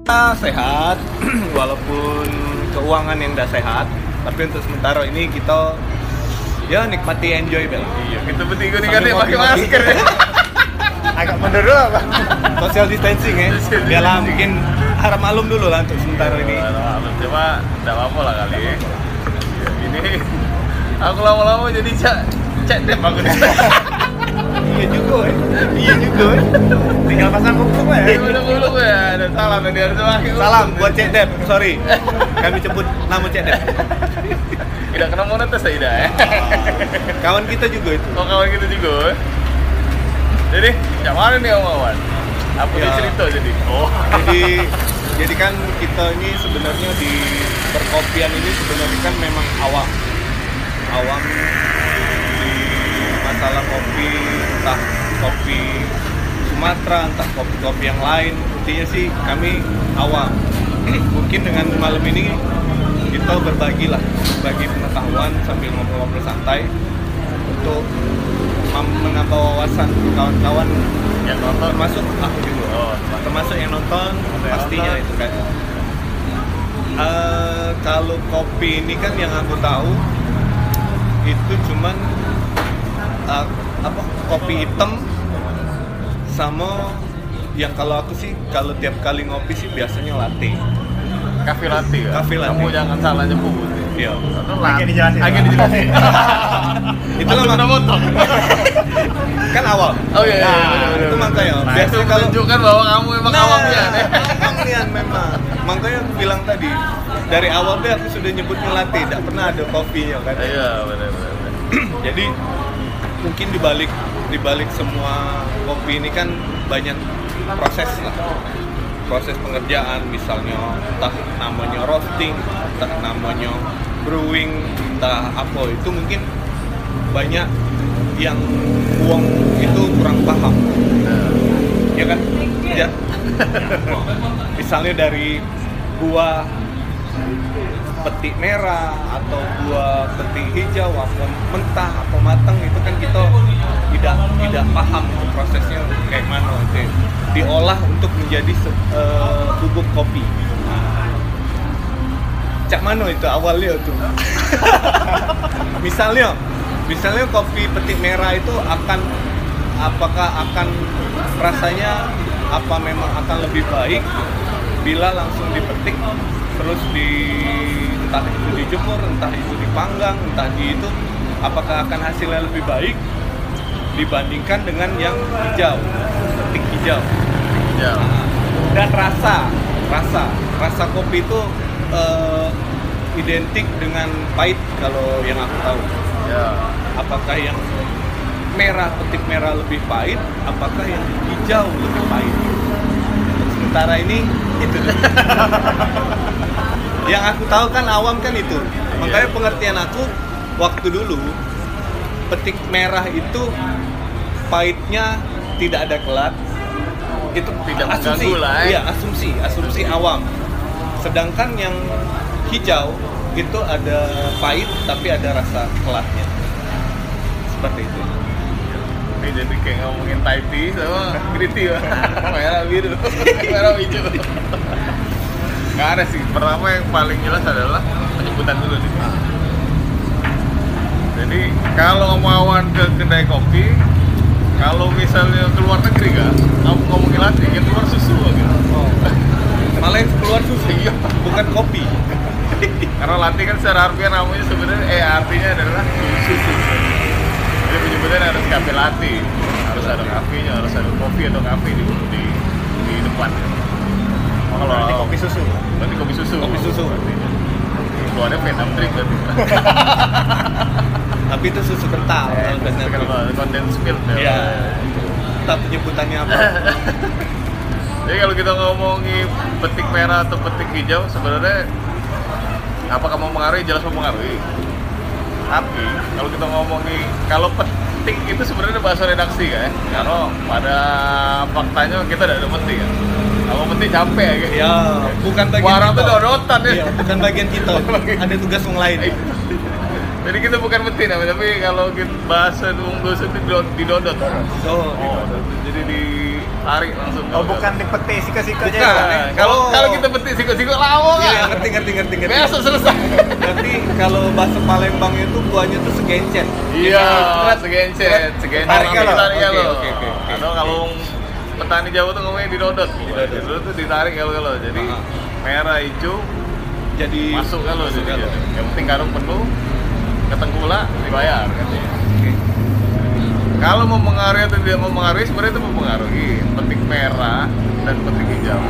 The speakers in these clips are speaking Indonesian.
Kita sehat, walaupun keuangan yang tidak sehat, tapi untuk sementara ini kita ya nikmati enjoy bel. Iya, kita bertiga nih kan Sambil yang pakai ngopi-ngopi. masker. agak menurut bang Social distancing ya, Social biarlah distancing. mungkin harap malum dulu lah untuk sementara ini. Malam, Cuma enggak apa-apa lah kali. Iya, Ini aku lama-lama jadi cak cak deh aku. Iya juga, ya. iya juga. ya. Tinggal pasang kuku ya. Udah dulu ya, ada salam yang harus pakai. Salam buat Cek Dep, sorry. Kami sebut nama Cek Dep. Tidak kena monetes ya, tidak ya. Kawan kita juga itu. Oh kawan gitu juga. Jadi, yang mana nih Om Awan? Apa Ya. dia cerita jadi? Oh, Jadi jadi kan kita ini sebenarnya di perkopian ini sebenarnya kan memang awam. Awam di masalah kopi, entah kopi Sumatera, entah kopi-kopi yang lain. Intinya sih kami awam. Mungkin dengan malam ini kita berbagi lah, berbagi pengetahuan sambil ngobrol-ngobrol santai untuk mem- menambah wawasan ke kawan-kawan yang nonton termasuk aku juga Oh, termasuk yang nonton yang pastinya nonton. itu kan Eh, kalau kopi ini kan yang aku tahu itu cuman eh, apa kopi hitam sama yang kalau aku sih kalau tiap kali ngopi sih biasanya latte kafe latte ya? Cafe latte. Kamu jangan salah nyebut. iya Itu Agak ya? dijelasin, Agak Pak. dijelasin. itu lah udah mak- motong. kan awal Oh iya, iya, Nah, bener, bener, itu bener. makanya Nah, itu biasanya kalau Nah. menunjukkan bahwa kamu ya, emang awamnya. awamnya memang. Makanya aku bilang tadi dari awal deh aku sudah nyebut melati, tidak pernah ada kopinya kan. Iya, benar benar. Jadi mungkin dibalik dibalik semua kopi ini kan banyak proses lah proses pengerjaan misalnya entah namanya roasting, entah namanya brewing, entah apa itu mungkin banyak yang uang itu kurang paham ya kan ya misalnya dari buah petik merah atau buah petik hijau apa mentah apa matang itu kan kita tidak tidak paham itu prosesnya kayak mana itu diolah untuk menjadi se- eh, bubuk kopi Nah. cak mano itu awalnya tuh misalnya misalnya kopi petik merah itu akan apakah akan rasanya apa memang akan lebih baik bila langsung dipetik terus di entah itu dijemur entah itu dipanggang entah di itu apakah akan hasilnya lebih baik dibandingkan dengan yang hijau petik hijau Nah, Ya. dan rasa rasa rasa kopi itu eh, identik dengan pahit kalau yang aku tahu Ya. apakah yang merah petik merah lebih pahit apakah yang hijau lebih pahit Untuk sementara ini itu yang aku tahu kan awam kan itu makanya pengertian aku waktu dulu petik merah itu pahitnya tidak ada kelat itu Tidak asumsi mengganggu lah, eh. iya asumsi asumsi awam sedangkan yang hijau itu ada pahit tapi ada rasa kelatnya seperti itu Ini jadi kayak ngomongin Taiti sama Kriti ya. Merah biru, merah hijau. Gak ada sih. Pertama yang paling jelas adalah penyebutan dulu nih. Jadi kalau mauan ke kedai kopi, kalau misalnya keluar negeri kan, kamu ngomongin latte, yang keluar susu gitu. oh. malah yang keluar susu Iya. bukan kopi Karena latte kan secara harfiah namanya sebenarnya eh artinya adalah susu. Jadi penyebutannya harus kafe latte, harus ada kafenya, harus ada kopi atau kafe di di di depan. Oh, kalau berarti kopi susu berarti kopi susu. kopi susu Keluarnya Vietnam drink berarti. tapi itu susu kental kalau Eh, benar. Kalau konten spill ya. Iya. tak penyebutannya apa Jadi kalau kita ngomongin petik merah atau petik hijau, sebenarnya apakah mempengaruhi? Jelas mempengaruhi. Tapi kalau kita ngomongin kalau petik itu sebenarnya bahasa redaksi kan? Karena pada faktanya kita tidak ada petik kan. Kalau petik capek ya. kan? ya bukan bagian Warang kita. tuh dorotan ya. Iya, bukan bagian kita ada tugas yang lain Jadi kita bukan petik namanya, tapi kalau kita bahasa unggul itu didodot. oh, Oh, jadi di tarik langsung. Oh bukan dipetik sika-sikanya Bukan. ya, Bang? Nah, Kalau Oh. kalau kita petik siko-siko lawong Iya, ya. ngerti ngerti ngerti ngerti. Besok selesai. Berarti kalau bahasa Palembang itu buahnya tuh segencet. Iya, Berat. segencet, segencet. Tarik ya, lo? Tarik ya, Oke, lo. oke, oke, oke. Atau kalau petani Jawa tuh ngomongnya didodot. Didodot. Didodot tuh ditarik kalau kalau. Jadi Aha. merah hijau Jadi masuk kan kalau masuk kan jadi. gitu. kalau. Yang penting karung penuh, ketengkula dibayar katanya. Oke. Kalau mau mengaruhi atau tidak mau mengaruhi sebenarnya itu mempengaruhi petik merah dan petik hijau.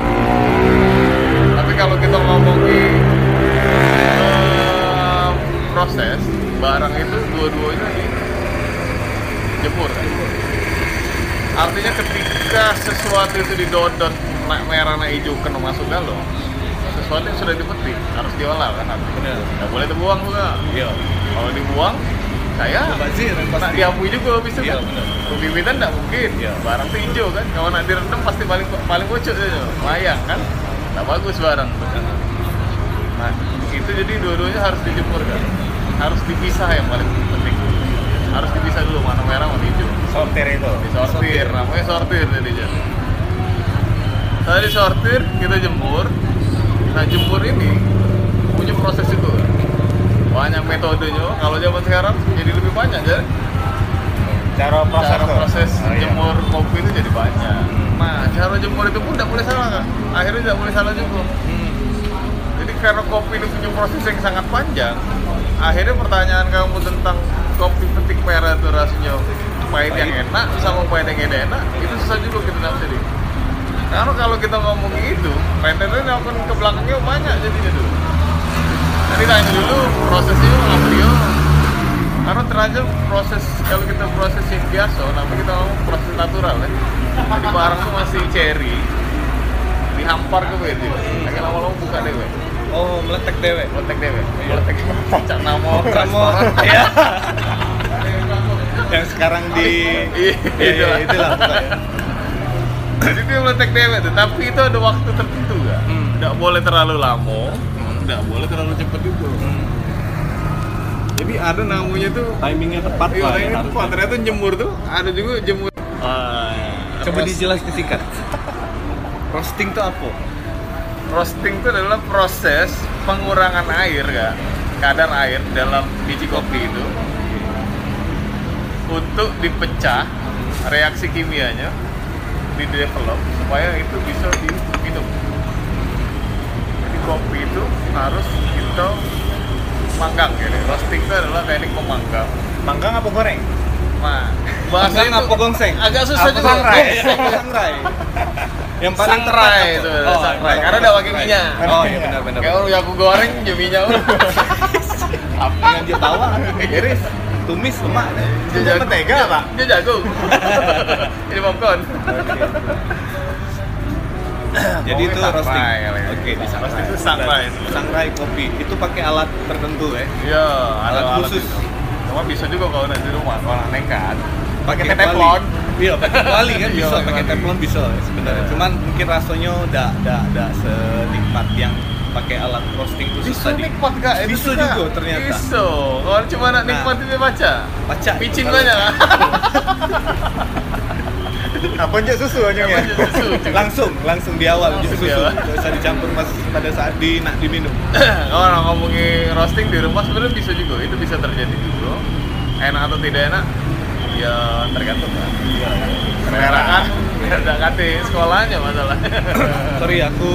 Tapi kalau kita ngomongin eh, proses barang itu dua-duanya dijemur. kan? Artinya ketika sesuatu itu didodot nak merah nak hijau kena masuk galon, sesuatu yang sudah dipetik harus diolah kan? Benar. Nggak boleh dibuang juga. Iya. Kalau dibuang, saya Mubazir, Ah, Nak pasti. diakui juga habis itu Iya, kan. benar. Pembibitan nggak mungkin. Iya. Barang tuh hijau kan. Kalau nak direndam pasti paling paling bocor saja. Mayang kan. Nggak bagus barang. tuh. Nah, itu jadi dua-duanya harus dijemur kan. Harus dipisah yang paling penting. Harus dipisah dulu mana merah mana hijau. Sortir itu. Disortir, namanya sortir tadi Jan. Tadi sortir, kita jemur. Nah jemur ini punya proses itu. Banyak metodenya. Kalau zaman sekarang jadi lebih banyak Jan Cara proses cara tuh. proses Oh, iya. jemur kopi itu jadi banyak. Nah, cara jemur itu pun tidak boleh salah kan? Akhirnya tidak boleh salah juga. Jadi karena kopi itu punya proses yang sangat panjang, akhirnya pertanyaan kamu tentang kopi petik merah itu rasanya pahit yang enak sama pahit yang tidak enak, itu susah juga kita nafsiri. Karena kalau kita ngomong gitu, itu, rentenirnya akan ke belakangnya banyak jadinya dulu. Jadi tanya dulu prosesnya apa dia? karena ternyata proses kalau kita proses yang biasa namanya kita ngomong proses natural ya jadi barang tuh masih cherry dihampar ke weh dia pengen lama-lama buka deh weh Oh, meletek dewe. botek deh weh botek Iya. cak namo Kamu restoran. ya. Yang sekarang di Iya, Iya, itulah. itulah pokoknya. jadi dia meletek dewe tuh tapi itu ada waktu tertentu gak? Hmm. Nggak boleh terlalu lama Hmm. nggak boleh terlalu cepet itu jadi ada namanya tuh Timingnya tepat Iya, lah. ya, ini harus. tuh ternyata jemur tuh ada juga jemur Coba Oh, iya. Terus- dijelasin singkat. Roasting tuh apa? Roasting itu adalah proses pengurangan air kan, kadar air dalam biji kopi itu untuk dipecah reaksi kimianya di develop supaya itu bisa diminum. Jadi kopi itu harus kita panggang ya. Roasting itu adalah teknik memanggang. Manggang apa goreng? Nah, Bahasa itu apa gongseng? agak susah Apa juga. sangrai? Sangrai. Yang paling tepat Sangrai apa? itu, sangrai. Karena ada pakai minyak. Oh iya benar benar. Kayak orang aku goreng, jaminya Apa yang dia tawa? Iris, tumis lemak. Itu mentega, Pak. Dia jago. Ini popcorn. Jadi itu Sangrai roasting. kali ya. Oke, di sangrai. Roasting itu sangrai. Sangrai kopi. Itu pakai alat tertentu ya. Iya, Alat alat khusus. khusus. Cuma bisa juga kalau nanti di rumah, kalau nekat. Pakai kuali. teflon. Iya, pakai kuali kan Iya, bisa, pakai pakai kuali. teflon bisa ya sebenarnya. Iya. Cuman mungkin rasanya udah udah udah senikmat yang pakai alat roasting khusus Bisa tadi. nikmat gak? Itu Bisa kita. juga ternyata. Bisa. Kalau cuma nak nikmatin dia baca. Pacak. Picin Kalau- banyak. Apa njek susu aja ya? Apa njek susu? Iya, langsung langsung di awal Langsung susu di awal. nggak usah dicampur pas pada saat di nak diminum orang ngomongin roasting di rumah sebenarnya bisa juga itu bisa terjadi juga enak atau tidak enak ya tergantung kan selera kan ada kate sekolahnya masalahnya sorry aku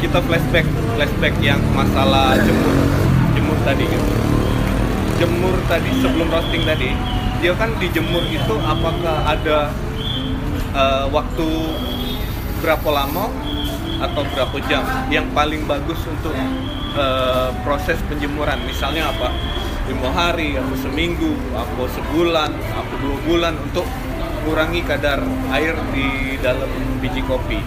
kita flashback flashback yang masalah jemur jemur tadi gitu jemur tadi sebelum roasting tadi dia kan dijemur itu apakah ada eh, waktu berapa lama atau berapa jam yang paling bagus untuk eh, proses penjemuran misalnya apa lima hari atau seminggu atau sebulan atau dua bulan untuk kurangi kadar air di dalam biji kopi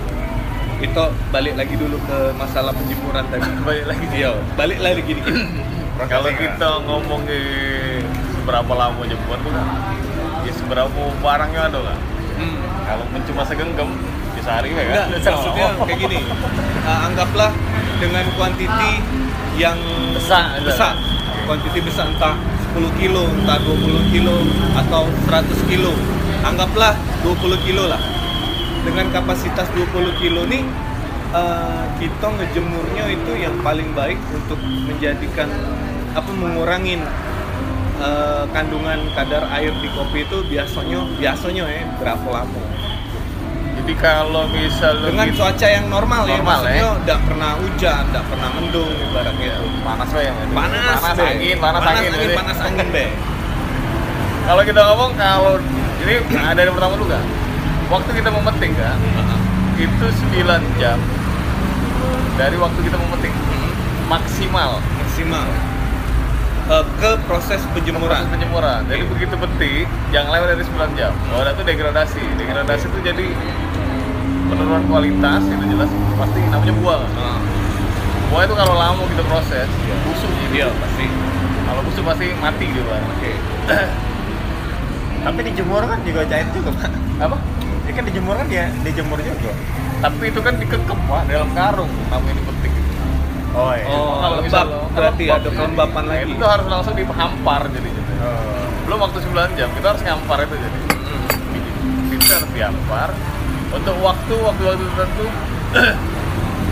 itu balik lagi dulu ke masalah penjemuran tadi balik lagi Iya, balik lagi gitu, dikit. kalau kita ngomongin seberapa lama jemput tuh kan ya seberapa barangnya ada kan Hmm. kalau cuma segenggam ya sehari ya Enggak, kan maksudnya kayak gitu. gini. Uh, anggaplah dengan kuantiti yang Besar, ada. besar. Kuantiti besar entah 10 kilo, entah 20 kilo atau 100 kilo. Anggaplah 20 kilo lah. dengan kapasitas 20 kilo nih eh, kita ngejemurnya itu yang paling baik untuk menjadikan apa mengurangin eh, kandungan kadar air di kopi itu biasanya biasanya ya berapa lama Jadi kalau misal lu dengan gitu- cuaca yang normal, ya Normal, maksudnya ya. nggak pernah hujan nggak pernah mendung ibaratnya panas lah yang ada. panas panas Be. angin, panas, angin. angin jadi. panas angin be Kalau kita ngomong kalau ini ada yang pertama dulu nggak? Waktu kita memetik kan, itu 9 jam dari waktu kita memetik maksimal maksimal Eh, ke proses proses penjemuran penjemuran. Jadi begitu petik, jangan lewat dari 9 jam. Oh, itu degradasi. Degradasi itu jadi penurunan kualitas itu jelas pasti namanya buah. kan? Ah, Buah itu kalau lama kita proses, busuk iya jadi. pasti Kalau busuk pasti mati gitu kan. oke Tapi dijemur kan juga jahit juga, Pak. Apa? Ya kan dijemur kan ya, dijemur juga. Tapi itu kan dikekep Pak, dalam karung namanya dipetik. Oh iya. Oh. Kalau lembab, misal lo- berarti lembab, ada jadi kelembapan lagi. Itu harus langsung dihampar jadi. Oh. Belum waktu 9 jam, kita harus ngampar itu jadi. Hmm. Itu harus dihampar. Untuk waktu waktu waktu tertentu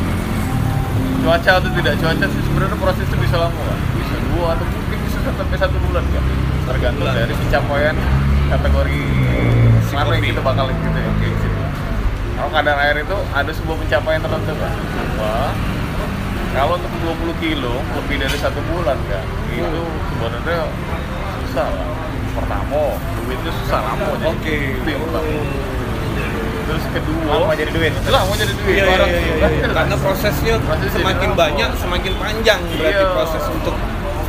cuaca atau tidak cuaca sih sebenarnya proses itu bisa lama Pak. bisa dua atau mungkin bisa sampai satu bulan kan tergantung Bulan. dari pencapaian kategori Si mana yang kopi. kita bakal gitu ya kayak gitu. kalau kadar air itu ada sebuah pencapaian tertentu pak Wah, kalau untuk 20 kilo lebih dari satu bulan kan itu sebenarnya susah lah pertama duitnya susah lama jadi. oke Oh. itu yang pertama terus kedua Lama jadi duit. lah mau jadi Iya, duit iya, orang iya, tuh. iya, iya. karena prosesnya Prosesnya semakin jadi banyak lama. semakin panjang berarti Iya. proses untuk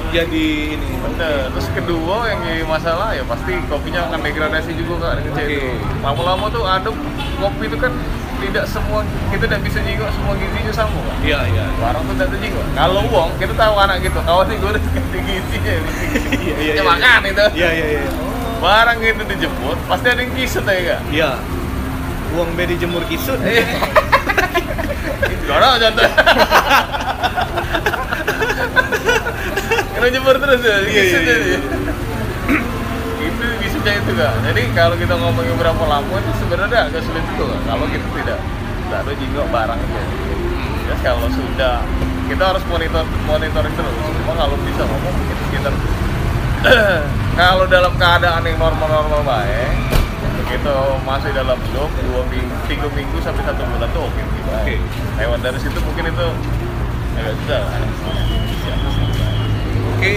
jadi ini Bener. Terus kedua yang jadi masalah ya pasti kopinya akan degradasi juga kak dari kecil itu. Oke. Lama-lama tuh aduk kopi itu kan tidak semua kita tidak bisa juga semua gizinya sama kak. iya iya Warung tuh tidak terjingok. Kalau uang kita tahu anak gitu, kawan nih gue udah ganti gizinya. iya iya Ya makan itu. iya iya iya Barang itu dijemput pasti ada yang kisut ya kak. iya uang be dijemur kisut Iya. Jorok jantan. Kena jemur terus ya. Iya, iya, iya. jadi. Itu bisa itu kak. Jadi kalau kita ngomongin berapa lama itu sebenarnya agak sulit itu kak. Kalau kita tidak tidak ada juga barang ya. itu. Terus kalau sudah kita harus monitor monitoring terus. Cuma kalau bisa ngomong mungkin sekitar kalau dalam keadaan yang normal-normal baik begitu masih dalam loop dua minggu tiga minggu sampai satu bulan tuh oke oke Oke. baik. lewat dari situ mungkin itu ya, agak susah lah. Oke,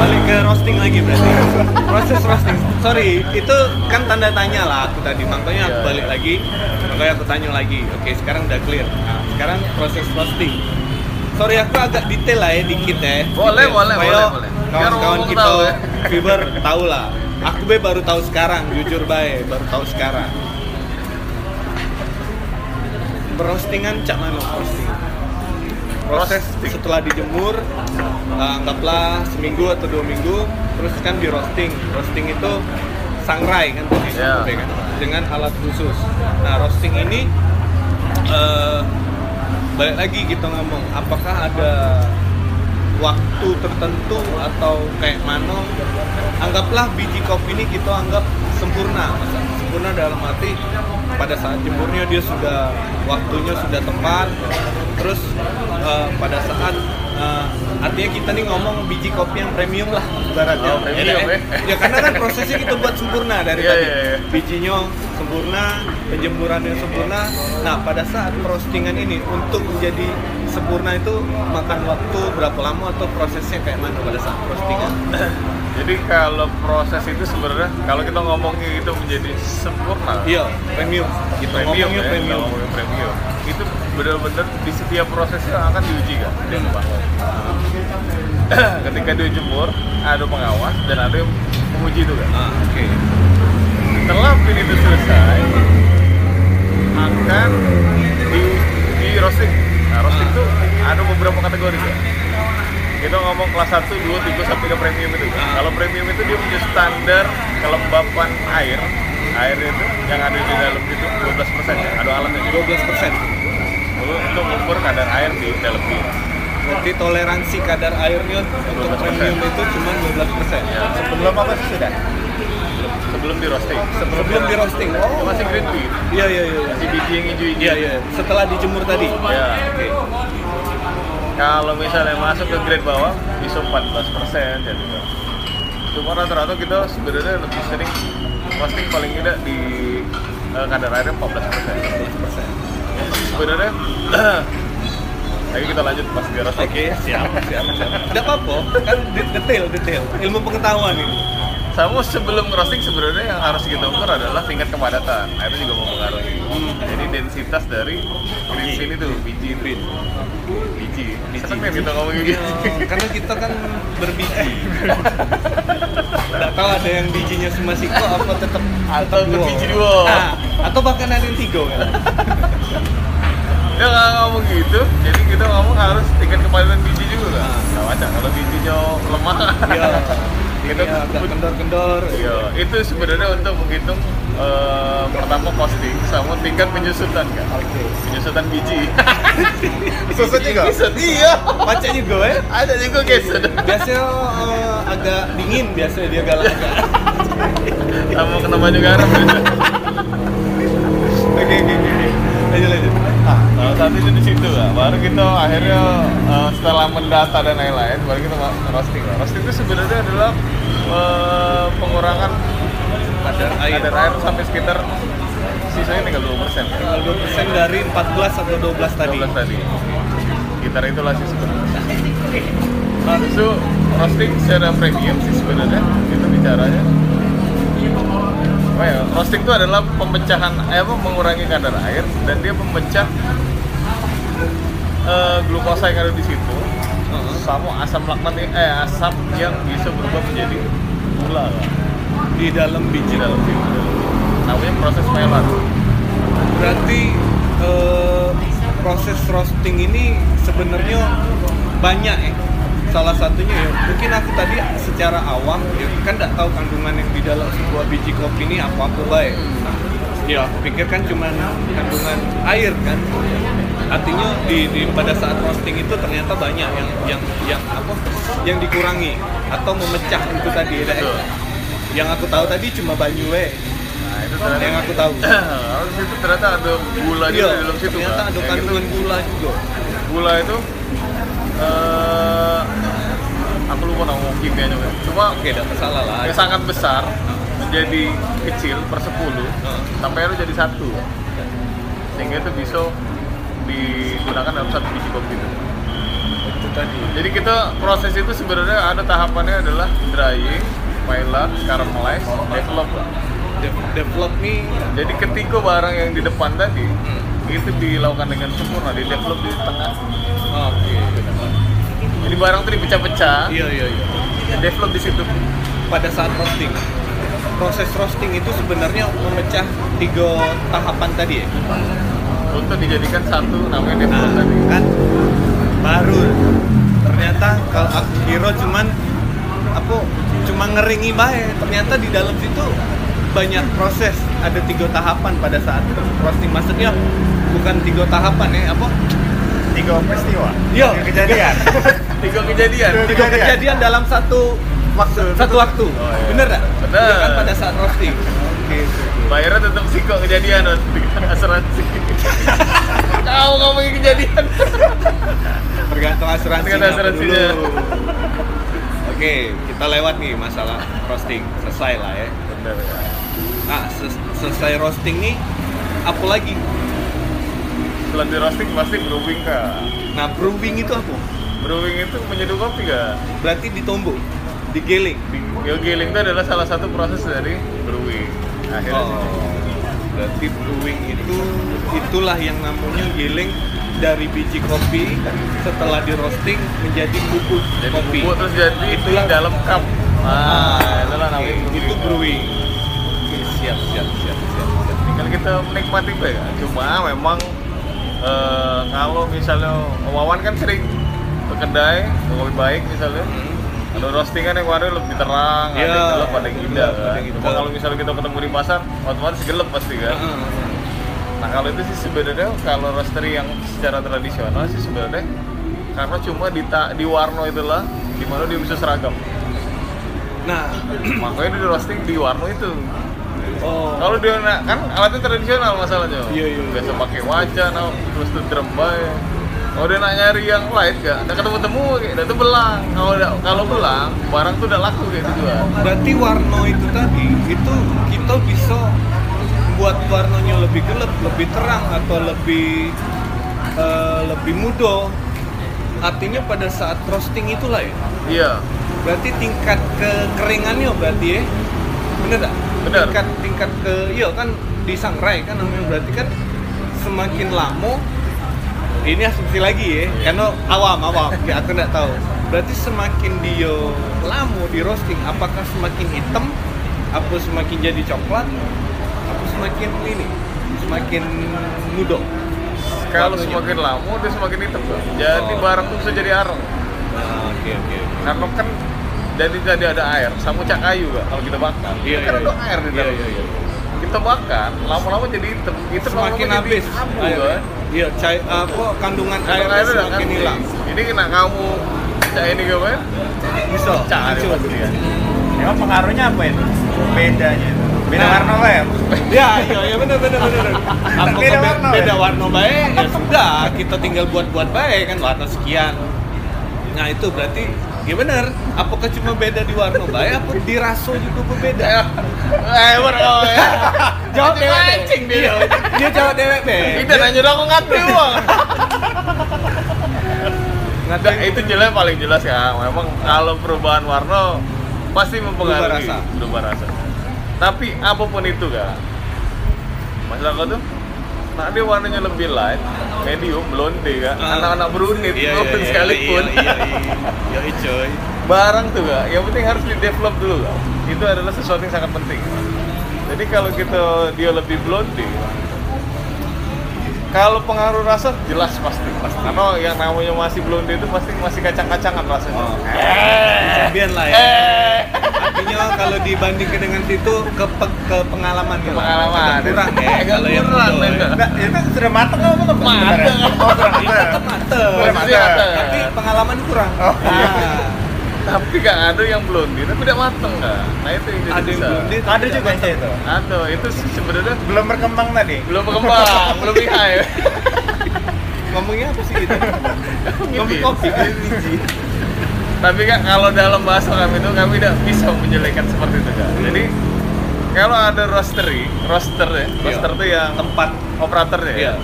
balik ke roasting lagi berarti. Proses roasting. Sorry, itu kan tanda tanya lah aku tadi. Makanya aku Iya, balik iya. lagi. Makanya aku tanya lagi. Oke, sekarang udah clear. Nah, sekarang proses roasting. Sorry aku agak detail lah ya dikit ya. Boleh, Dikit. boleh, Supaya boleh, boleh. Biar Kawan-kawan orang kita tahu ya. fiber tahu lah. Aku be baru tahu sekarang, jujur bae, baru tahu sekarang. Roastingan cak mana roasting? proses Roasting. setelah dijemur eh, anggaplah seminggu atau dua minggu terus kan di roasting roasting itu sangrai kan tadi Ya. sampai kan? dengan alat khusus nah roasting ini eh, balik lagi kita ngomong apakah ada waktu tertentu atau kayak mana anggaplah biji kopi ini kita anggap sempurna sempurna dalam arti pada saat jemurnya dia sudah waktunya sudah tepat terus eh, pada saat eh, artinya kita nih ngomong biji kopi yang premium lah ibaratnya Oh, premium, Jadi, eh. ya karena kan prosesnya kita buat sempurna dari Iya, tadi iya, iya. bijinya sempurna, penjemurannya sempurna. Nah, pada saat roastingan ini untuk menjadi sempurna itu makan waktu berapa lama atau prosesnya kayak mana pada saat roastingan? jadi kalau proses itu sebenarnya kalau kita ngomongin itu menjadi sempurna Iya, premium. Gitu. Oh. premium Ngomongnya ya, premium. kalau ngomongin premium itu benar-benar di setiap prosesnya akan diuji kan jangan lupa ketika dia jemur ada pengawas dan ada yang menguji itu kan Ah, oke. setelah pin itu selesai akan di, di roasting nah roasting itu ada beberapa kategori ya kita ngomong kelas 1, 2, 3, sampai ke premium itu kalau premium itu dia punya standar kelembapan air air itu yang ada di dalam itu 12 persen ya, ada alatnya 12%. juga untuk mengukur kadar air di dalam bir Berarti toleransi kadar airnya untuk 12%. premium itu cuma 12%. ya. Sebelum apa sih sudah? sebelum sebelum di roasting sebelum di roasting. Itu masih green tea Iya iya iya. masih biji yang hijau-hijau Iya iya. Setelah dijemur tadi. Ya. Oke. kalau misalnya masuk ke grade bawah bisa 14 ya gitu cuma rata-rata kita sebenarnya lebih sering roasting paling tidak di eh, kadar airnya 14 sebenarnya lagi kita lanjut pas di roasting Oke, siap, siap, siap. Gak apa-apa, kan de- detail, detail. Ilmu pengetahuan ini. Sama sebelum roasting sebenarnya yang harus kita ukur adalah tingkat kepadatan. Airnya juga mempengaruhi. Jadi densitas dari green bean itu, biji itu. Green. Biji. Seneng kan kita ngomongin gitu. Eh, karena kita kan berbiji. Gak tahu ada yang bijinya cuma siko apa tetap Atau berbiji dua. Ah, atau bahkan ada yang tiga kan. Dia nggak ngomong gitu, jadi kita ngomong harus tingkat kepadatan biji juga. Ah. Nggak wajar kalau bijinya lemah. Iya. Kita Kita agak sebut- kendor-kendor. Iya, itu sebenarnya untuk menghitung eh, pertama costing sama tingkat penyusutan kan. Oke. Penyusutan biji. Susut juga? Susut, Iya. Baca juga ya. Ada juga guys. Biasanya eh, agak dingin biasanya dia galak agak. Kamu kena baju garam gitu. Oke oke oke. oke. Lanjut lanjut. Ah, Nah, saat itu di situ lah. Baru kita akhirnya eh, setelah mendata dan lain-lain, baru kita ma- roasting. lah. Roasting itu sebenarnya adalah eh, pengurangan Kadar air. kadar air sampai sekitar sisanya tinggal 2 persen. Tinggal 2% dari 14 atau 12 tadi. 12 tadi. Sekitar itulah sih sebenarnya. Nah, Habis itu roasting secara premium sih sebenarnya itu bicaranya. Well, roasting itu adalah pemecahan eh, apa mengurangi kadar air dan dia memecah eh, glukosa yang ada di situ Heeh. sama asam laktat yang- eh asam yang bisa berubah menjadi gula kan, Di dalam di biji. dalam situ. Namanya proses Maillard. Berarti eh, proses roasting ini sebenarnya banyak ya. Salah satunya ya, mungkin aku tadi secara awam ya kan nggak tahu kandungan yang di dalam sebuah biji kopi ini apa pula ya. Ya, aku pikir kan cuman kandungan air kan. Artinya di, di- pada saat roasting itu ternyata banyak yang yang yang apa yang dikurangi atau memecah itu tadi ya. Daek. Betul. Yang aku tahu tadi cuma banyu ya. Nah, itu ternyata Yang aku tahu. Terus itu ternyata ada gula juga Iya, di dalam situ. ternyata kan. ada Ya, gitu. kandungan gula juga. gula itu eh aku lupa nama kimianya kan. Cuma Oke, tidak masalah lah. yang sangat besar menjadi kecil per 10 sampai akhirnya jadi satu sehingga itu bisa digunakan dalam satu biji kopi itu. Oh, Itu tadi. Jadi kita proses itu sebenarnya ada tahapannya adalah drying, pilot, caramelize, develop. De- develop nih. Jadi ketika barang yang di depan tadi itu dilakukan dengan sempurna, di develop di tengah. Ah, Oke. Jadi barang itu dipecah-pecah, Iya, iya, iya. di develop di situ. Pada saat roasting. Proses roasting itu sebenarnya memecah tiga tahapan tadi ya. untuk dijadikan satu namanya Nah, develop Ah, tadi. kan baru ternyata kalau aku kira cuman apa cuma ngeringi bae ternyata di dalam situ banyak proses ada tiga tahapan pada saat roasting maksudnya bukan tiga tahapan ya apa Tiga peristiwa. Iya. Tiga kejadian. Tiga kejadian. tiga Kejadian. kejadian dalam satu waktu satu waktu Oh, iya. bener nggak Bener. Iya kan pada saat roasting oke Bayarnya tetap sih kok kejadian Ot. dengan asuransi. Kau ngomongin kejadian. tergantung asuransi Tergantung apa dulu. asuransinya. oke kita lewat nih masalah roasting selesai lah ya Bener ya. nah ses- selesai roasting nih apa lagi Setelah di roasting pasti brewing kak. nah brewing itu apa Brewing itu menyeduh kopi kak. berarti ditombok digiling Yo giling itu adalah salah satu proses dari brewing. Akhirnya Oh, berarti brewing itu itulah yang namanya giling dari biji kopi setelah di roasting menjadi bubuk jadi kopi. bubuk terus jadi Itulah- di dalam cup. Ah, oke. itulah namanya Iya, itu brewing. Oke, siap, siap, siap, siap. siap. Tinggal kita menikmati itu ya. Cuma memang eh, kalau misalnya Wawan kan sering ke kedai ke kopi baik misalnya. Hmm. Kalau roastingan yang warna lebih terang, ada Iya, yang gelap, ada yang ada indah gelap, kan. ada yang Cuma hitam. kalau misalnya kita ketemu di pasar, otomatis gelap pasti kan. Hmm. Nah kalau itu sih sebenarnya kalau roastery yang secara tradisional sih sebenarnya karena cuma di ta- di warna itulah di mana dia bisa seragam. Nah, Makanya dia di roasting di warna itu. oh. Kalau dia nak kan alatnya tradisional masalahnya. Iya, iya. Biasa pakai wajan, apa, terus tuh terembay. Kalau dia nak nyari yang lain gak, ada ketemu temu, kayak itu belang. Kalau da- kalau belang, barang tuh udah laku kayak gitu kan. Berarti warno itu tadi itu kita bisa buat warnonya lebih gelap, lebih terang atau lebih eh, lebih mudah. Artinya pada saat roasting itulah ya. Iya, Berarti tingkat kekeringannya berarti ya. Bener tak? Bener. Tingkat tingkat ke iya kan di sangrai kan namanya berarti kan semakin lama ini asumsi lagi ya karena awam awam ya aku nggak tahu berarti semakin dia lama di roasting apakah semakin hitam apa semakin jadi coklat apa semakin ini semakin mudok kalau Warnanya. semakin lama dia semakin hitam. Bang. Jadi Oh. barang tuh bisa jadi arang. Ah, oke oke oke. Karena kan jadi tadi ada air, sama cak kayu Bang, kalau kita bakar. iya Itu iya kan ada air di iya dalam. iya iya Kita bakar, lama-lama jadi hitam. Hitam semakin lama-lama jadi habis abu, airnya. Bang. iya cair apa kandungan air airnya air udah kan semakin hilang ini kena kamu cak ini gue bisa cak ini hancur. pasti kan Emang pengaruhnya apa itu? Bedanya itu. Beda Nah. warna lah ya? ya iya iya benar benar benar apa Beda beda warna warna, beda ya? warna baik ya sudah kita tinggal buat buat baik kan warna sekian nah itu berarti ya benar apakah cuma beda di warna baik apa di raso juga berbeda eh bro ya jawab dewek Anjing deh. mancing dia. Iya, dia Iya, jawab dewek be kita nanya dong ngerti bang Nah, ngatain itu jelas paling jelas ya memang kalau perubahan warna pasti mempengaruhi Berubah rasa. berubah rasa tapi apapun itu kan masalah kau tuh Nah, dia warnanya lebih light, medium, blonde kan. Ah. Anak-anak berunit, Iya, iya, open iya, sekalipun. iya iya iya iya coy barang tuh gak, yang penting harus di develop dulu Kak. itu adalah sesuatu yang sangat penting jadi kalau kita dia lebih blonde kalau pengaruh rasa jelas pasti pasti karena yang namanya masih blonde itu pasti masih kacang-kacangan rasanya Oh. eh, Champion lah ya. eh. Artinya kalau dibandingkan dengan itu ke, pe- ke pengalaman gitu. pengalaman Agak kurang ya Agak kalau yang kurang itu, ya. ya. Nah, itu sudah matang apa belum? Mateng. Oh, sudah matang. Tetap mateng. Kurang Posisi mateng. mateng. Tapi pengalaman kurang. Nah, Oh, iya. tapi gak ada yang blonde tapi tidak mateng gak nah itu yang Nah, jadi ada yang susah. belum di- Ada juga yang itu. ada itu sih sebenarnya Belum berkembang tadi. belum berkembang belum lihai Ngomongnya apa sih itu? Ngomong Ngintip. kopi kan biji. Tapi kak kalau dalam bahasa kami itu kami tidak bisa menjelekkan seperti itu kak. Jadi kalau ada roastery, roaster ya, roaster itu yang Tempat. operatornya ya, Iya.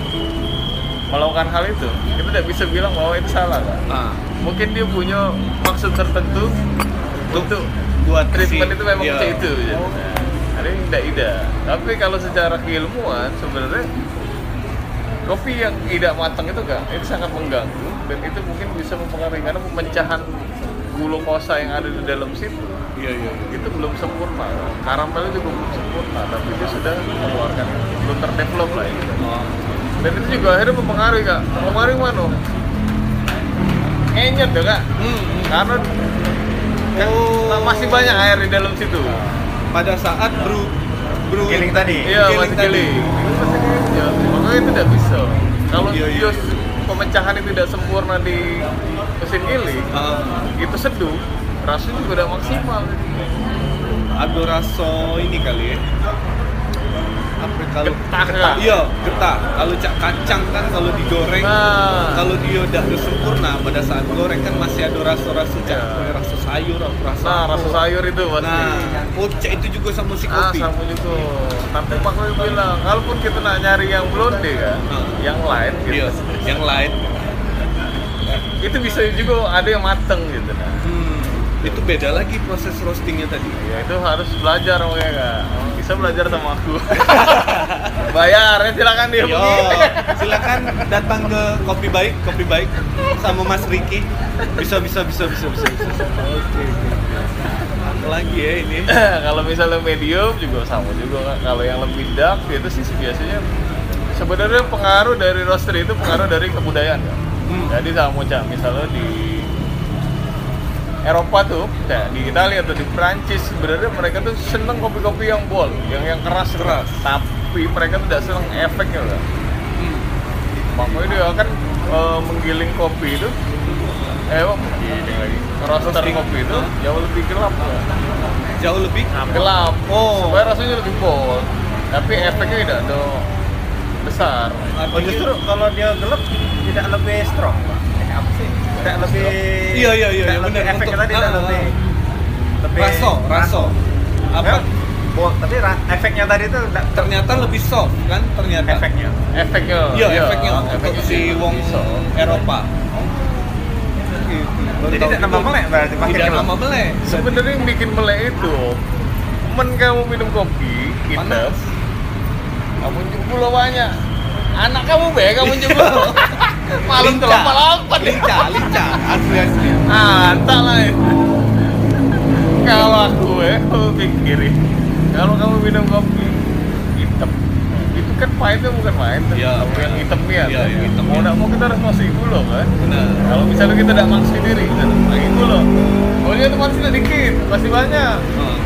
melakukan hal itu, kita tidak bisa bilang bahwa itu salah kak. Ah, Mungkin dia punya maksud tertentu untuk buat treatment si- itu memang gitu. iya. macam itu. Jadi, Oh. Jadi tidak ida. Tapi kalau secara keilmuan sebenarnya kopi yang tidak matang itu kan itu sangat mengganggu dan itu mungkin bisa mempengaruhi karena pemecahan glukosa yang ada di dalam situ Iya, iya. iya. itu belum sempurna karamel juga belum sempurna tapi dia sudah mengeluarkan belum terdevelop lah ya. Oh. dan itu juga akhirnya mempengaruhi kak mempengaruhi mana enyet ya kak Hmm. karena kan Oh. masih banyak ah. air di dalam situ Pada saat brew brew Giling tadi. Iya, Giling masih tadi. giling. Itu pasti giling, ya. Makanya itu tidak bisa. Kalau Iya, iya, bios pemecahan itu tidak sempurna di mesin giling, Ah, itu seduh, rasanya juga tidak maksimal. ada rasa ini kali ya. Apa kalau Getah, Kak. Iya, getah. Kalau cak kacang kan kalau digoreng Nah, kalau dia udah udah sempurna pada saat goreng kan masih ada rasa-rasa cak Iya. kayak rasa sayur atau rasa nah, apa. rasa sayur itu pasti. nah oh cak itu juga sama si Ah, kopi sama juga. Tapi makanya bilang, kalaupun kita nak nyari yang blonde kan, Ah. yang lain gitu, iya yang lain itu bisa juga ada yang mateng gitu. Nah. hmm, itu beda lagi proses roastingnya tadi Ya itu harus belajar makanya kak. Bisa belajar sama aku. Bayar, ya silakan dia Yo, silakan datang ke kopi baik, kopi baik sama Mas Riki. Bisa, bisa, bisa, bisa, bisa. bisa. Oke. Apa lagi ya ini? kalau misalnya medium juga sama juga Kak. kalau yang lebih dark ya itu sih biasanya sebenarnya pengaruh dari roaster itu pengaruh dari kebudayaan Kak. Hmm. jadi sama cak misalnya di Eropa tuh kayak di Italia atau di Prancis sebenarnya mereka tuh seneng kopi-kopi yang bol yang yang keras keras tapi mereka tuh tidak seneng efeknya Kak. Hmm. makanya dia kan eh, menggiling kopi itu eh apa? menggiling lagi roaster kopi itu jauh lebih gelap ya. Jauh lebih gelap Oh. supaya rasanya lebih bold tapi efeknya tidak ada besar Oh justru kalau dia gelap tidak lebih strong Pak. Eh, apa sih? Tidak lebih Iya, iya, iya, Tidak iya, lebih benar. efeknya Untuk- tadi tidak ah, ah, lebih lebih raso, raso. Apa? Apa? tapi ra- efeknya tadi itu tidak Ternyata lebih soft kan ternyata. efeknya. efeknya Iya, efeknya untuk si sih wong bisa. Eropa. Gitu. Baru Jadi tahu tidak gitu. nambah melek berarti pakai Tidak gelap. nambah melek. sebenarnya yang bikin melek itu men kamu minum kopi Gitu. hitam Panas. kamu jebul banyak anak kamu be kamu jebul malam Lincah. terlalu lapar Lincah, lincah, asli asli. Ah, entah lah ya. Kalau aku ya, aku pikirin Kalau kamu minum kopi hitam Itu kan pahitnya bukan main tuh. Iya. Kamu yang hitam ya Iya, yang hitam. Mau nggak mau kita harus masuk itu loh kan Benar. Kalau misalnya kita tidak maksain diri, kita harus pakai kan, nah, itu loh Kalau dia tuh pasti tidak dikit, pasti banyak Heeh.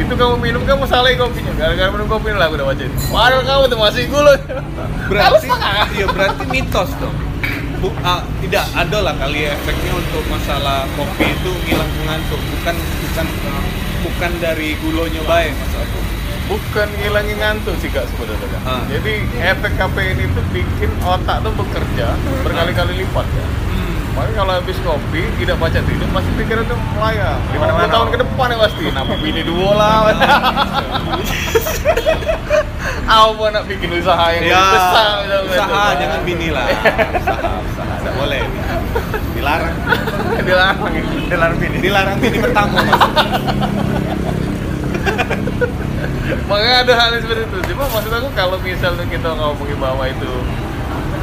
Situ kamu minum, kamu salah kopinya Gara-gara minum kopi lah aku udah wajahin Padahal kamu tuh masih gulung Kamu Berarti setengah iya berarti mitos dong. Bu- ah, tidak ada lah kali ya efeknya untuk masalah kopi itu ngilang ngantuk bukan bukan bukan dari gulonya baik mas aku bukan ngilangin ngantuk sih kak sebenarnya Kak. Ah. jadi efek kafein itu bikin otak tuh bekerja berkali-kali lipat ya makanya kalau habis kopi tidak baca tidur pasti pikiran tuh Oh, melayang Di mana-mana. 50 tahun ke depan ya pasti kenapa bini dua lah apa nak bikin usaha yang ya lebih besar gitu, usaha gitu. jangan bini lah usaha usaha tidak boleh dilarang dilarang gitu. Dilarang ini. dilarang bini bertamu mas makanya ada hal yang seperti itu cuma maksud aku kalau misalnya kita ngomongin bahwa itu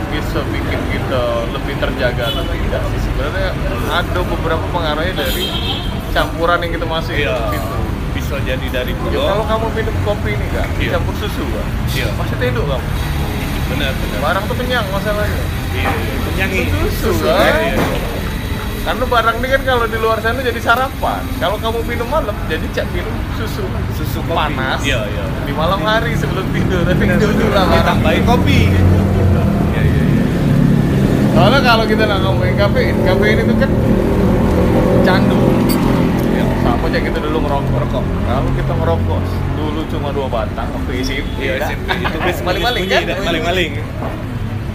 bisa bikin kita lebih terjaga atau tidak sih sebenarnya ada beberapa pengaruhnya dari campuran yang kita masuk iya gitu. bisa jadi dari Ya, kalau gulung kamu minum kopi nih kak, Iya. campur susu kak, iya pasti tidur kamu. benar benar Barang tuh kenyang masalahnya. iya yang Susu, kan? Karena barang ini kan kalau di luar sana jadi sarapan. Kalau kamu minum malam, jadi cak minum susu. susu kopi. Panas. iya iya Di malam hari sebelum tidur, tapi tidur lah barang. ditambahin kopi iya iya iya Soalnya kalau kita nggak ngomongin kafein, kafein itu kan candu. Ya, sama aja kita dulu ngerokok. Rokok. Kalau kita ngerokok dulu cuma dua batang waktu SMP. Iya, dah. SMP itu bis Maling-maling bunyi, kan? dah, Maling-maling.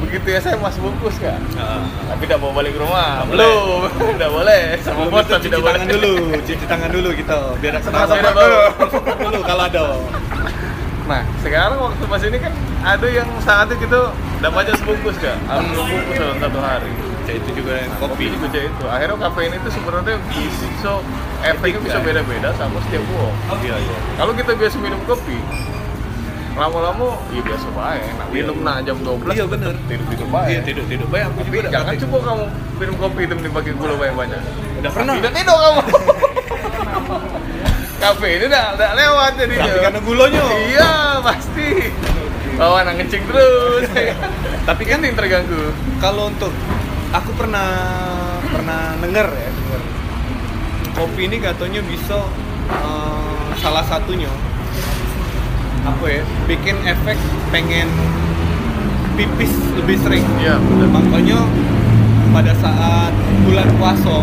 Begitu ya saya mas bungkus kan. Heeh. Tapi tidak mau balik ke rumah. Nggak Belum. Tidak boleh. Sama bos tapi cuci tidak boleh. tangan dulu, cuci tangan dulu gitu biar Sama kenal sama beda dulu. bau. dulu kalau ada. Nah, sekarang waktu mas ini kan ada yang saatnya kita dapat aja sebungkus kan. Harus dua bungkus dalam satu hari. Ya itu juga yang kopi. kopi juga itu akhirnya kafein itu sebenarnya bisa efeknya bisa beda-beda sama setiap uang Iya, iya. kalau kita biasa minum kopi lama-lama ya biasa baik nah, minum Iya. nah jam 12 Iya, bener. tidur tidur Iya, baik tidur tidur. Baik aku tapi juga jangan udah coba Kan kamu minum kopi hitam dipakai gula banyak-banyak Udah pernah. tidak tidur kamu kafein ini udah udah lewat jadi Tapi karena gulonya. iya pasti bawa anak kencing terus Tapi kan yang terganggu kalau untuk aku pernah pernah denger ya denger. kopi ini katanya bisa eh, salah satunya apa ya bikin efek pengen pipis lebih sering iya Dan benar makanya pada saat bulan puasa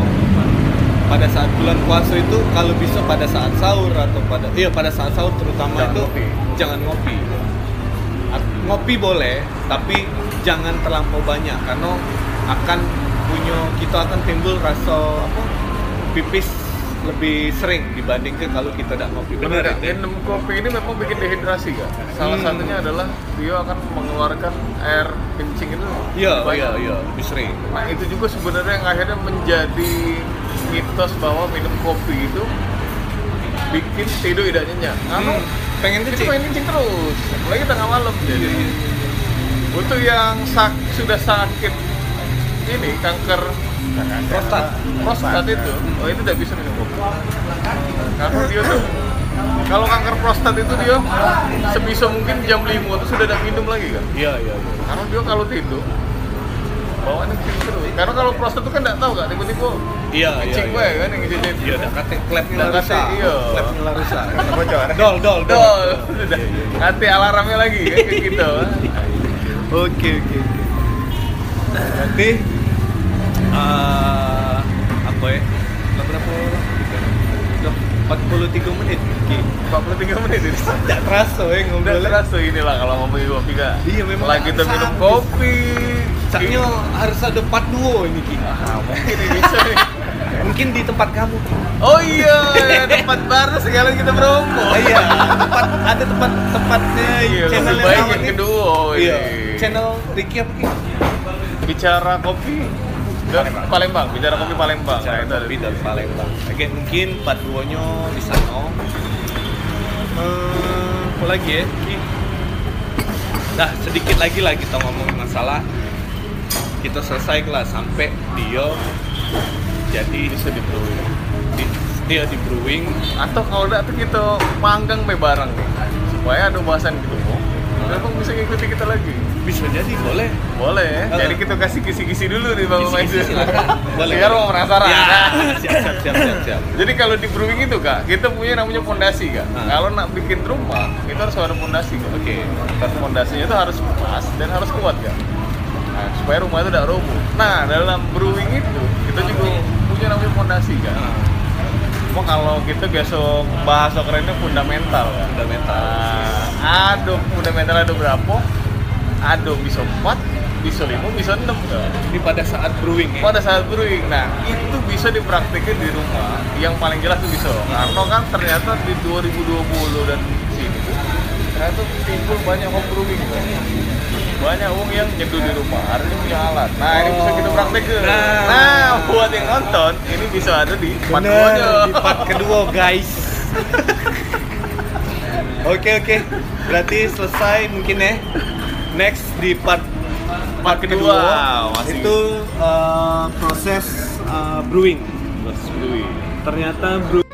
pada saat bulan puasa itu kalau bisa pada saat sahur atau pada iya pada saat sahur terutama Jangan itu ngopi. jangan ngopi At- ngopi boleh tapi jangan terlampau banyak karena akan punya kita akan timbul rasa apa pipis lebih sering dibandingkan kalau kita tidak ngopi Benar, benar itu ya? minum kopi ini memang bikin dehidrasi kan. Salah Hmm. satunya adalah dia akan mengeluarkan air kencing itu. iya banyak. iya iya lebih sering Nah itu juga sebenarnya yang akhirnya menjadi mitos bahwa minum kopi itu bikin tidur tidak nyenyak. Anu, Karena Hmm, pengen kita kecil main kencing terus, apalagi tengah malam. Jadi Iya, iya. untuk yang sak sudah sakit ini kanker prostat ya. prostat itu, oh itu tidak bisa minum kopi. Karena dia tuh kalau kanker prostat itu dia sebisa mungkin jam 5 itu sudah tidak minum lagi kan. iya iya iya. Karena dia kalau tidur bawaannya kencing terus. Karena kalau prostat itu kan tidak tahu kan tiba-tiba Iya, iya. kencing iya. gue kan yang kejadian. Iya, udah kate klepnya Udah lah kate, rusak. iya. Klepnya lah rusak. Bocor. Dol, dol, dol. Dol, sudah. Nanti alarmnya lagi kan kayak gitu. Oke, oke, oke. berarti eh apa ya Udah berapa lama kita? Udah 43 menit Ki. 43 menit ini. Tidak terasa ya Udah ngobrolnya terasa inilah kalau ngomongin kopi kak. Iya, memang Lagi kita harus minum habis. kopi. Iya. Caknya harus ada part duo ini Ki Ah, mungkin ini bisa nih. Mungkin di tempat kamu Ki Oh iya, ya, tempat baru sekalian kita promo. Ah, Iya, tempat, ada tempat tempatnya Iya, channel yang lebih baik sama yang nih. kedua ini. Iya, channel Ricky apa Ki? Bicara kopi dan Palembang. bicara kopi Palembang. Cara Nah, kopi itu dan Palembang. Oke, mungkin part duonya di sana. Eh, apa lagi ya? Ki? Nah, sedikit lagi lah kita ngomongin masalah. Kita selesai lah sampai dia jadi bisa di brewing. di- dia di brewing. Atau kalau enggak tuh kita panggang me bareng nih. Supaya ada bahasan gitu. Nah. Kenapa bisa ngikuti kita lagi? Bisa jadi boleh. Boleh. ya. Heeh. Jadi kita kasih kisi-kisi dulu nih Bang Nah. Kisi-kisi Maizu. silakan. Boleh. Biar orang penasaran. Ya, Nah. siap siap siap siap. siap. Jadi kalau di brewing itu kak, kita punya namanya pondasi kak. Ah. Kalau nak bikin rumah, itu harus ada pondasi kak. Oke. Terus pondasinya itu harus pas dan harus kuat kak. Nah, supaya rumah itu tidak roboh. Nah dalam brewing itu kita juga punya namanya pondasi kak. Nah, Cuma kalau kita besok bahasa kerennya fundamental kak. fundamental. Nah, ada fundamental ada berapa? Ada bisa empat, bisa lima, bisa enam kak. Ini pada saat brewing ya. pada saat brewing nah itu bisa dipraktekin di rumah yang paling jelas tuh bisa Karena kan ternyata di 2020 dan sini tuh ternyata timbul banyak home brewing kan. banyak uang yang nyeduh di rumah harusnya punya alat nah ini bisa kita praktekin Nah. nah, buat yang nonton ini bisa ada di tempat Bener, di part kedua guys. Oke oke, berarti selesai mungkin ya. Next di part part kedua, kedua, masih. itu eh, proses eh, brewing. Terus brewing Ternyata brew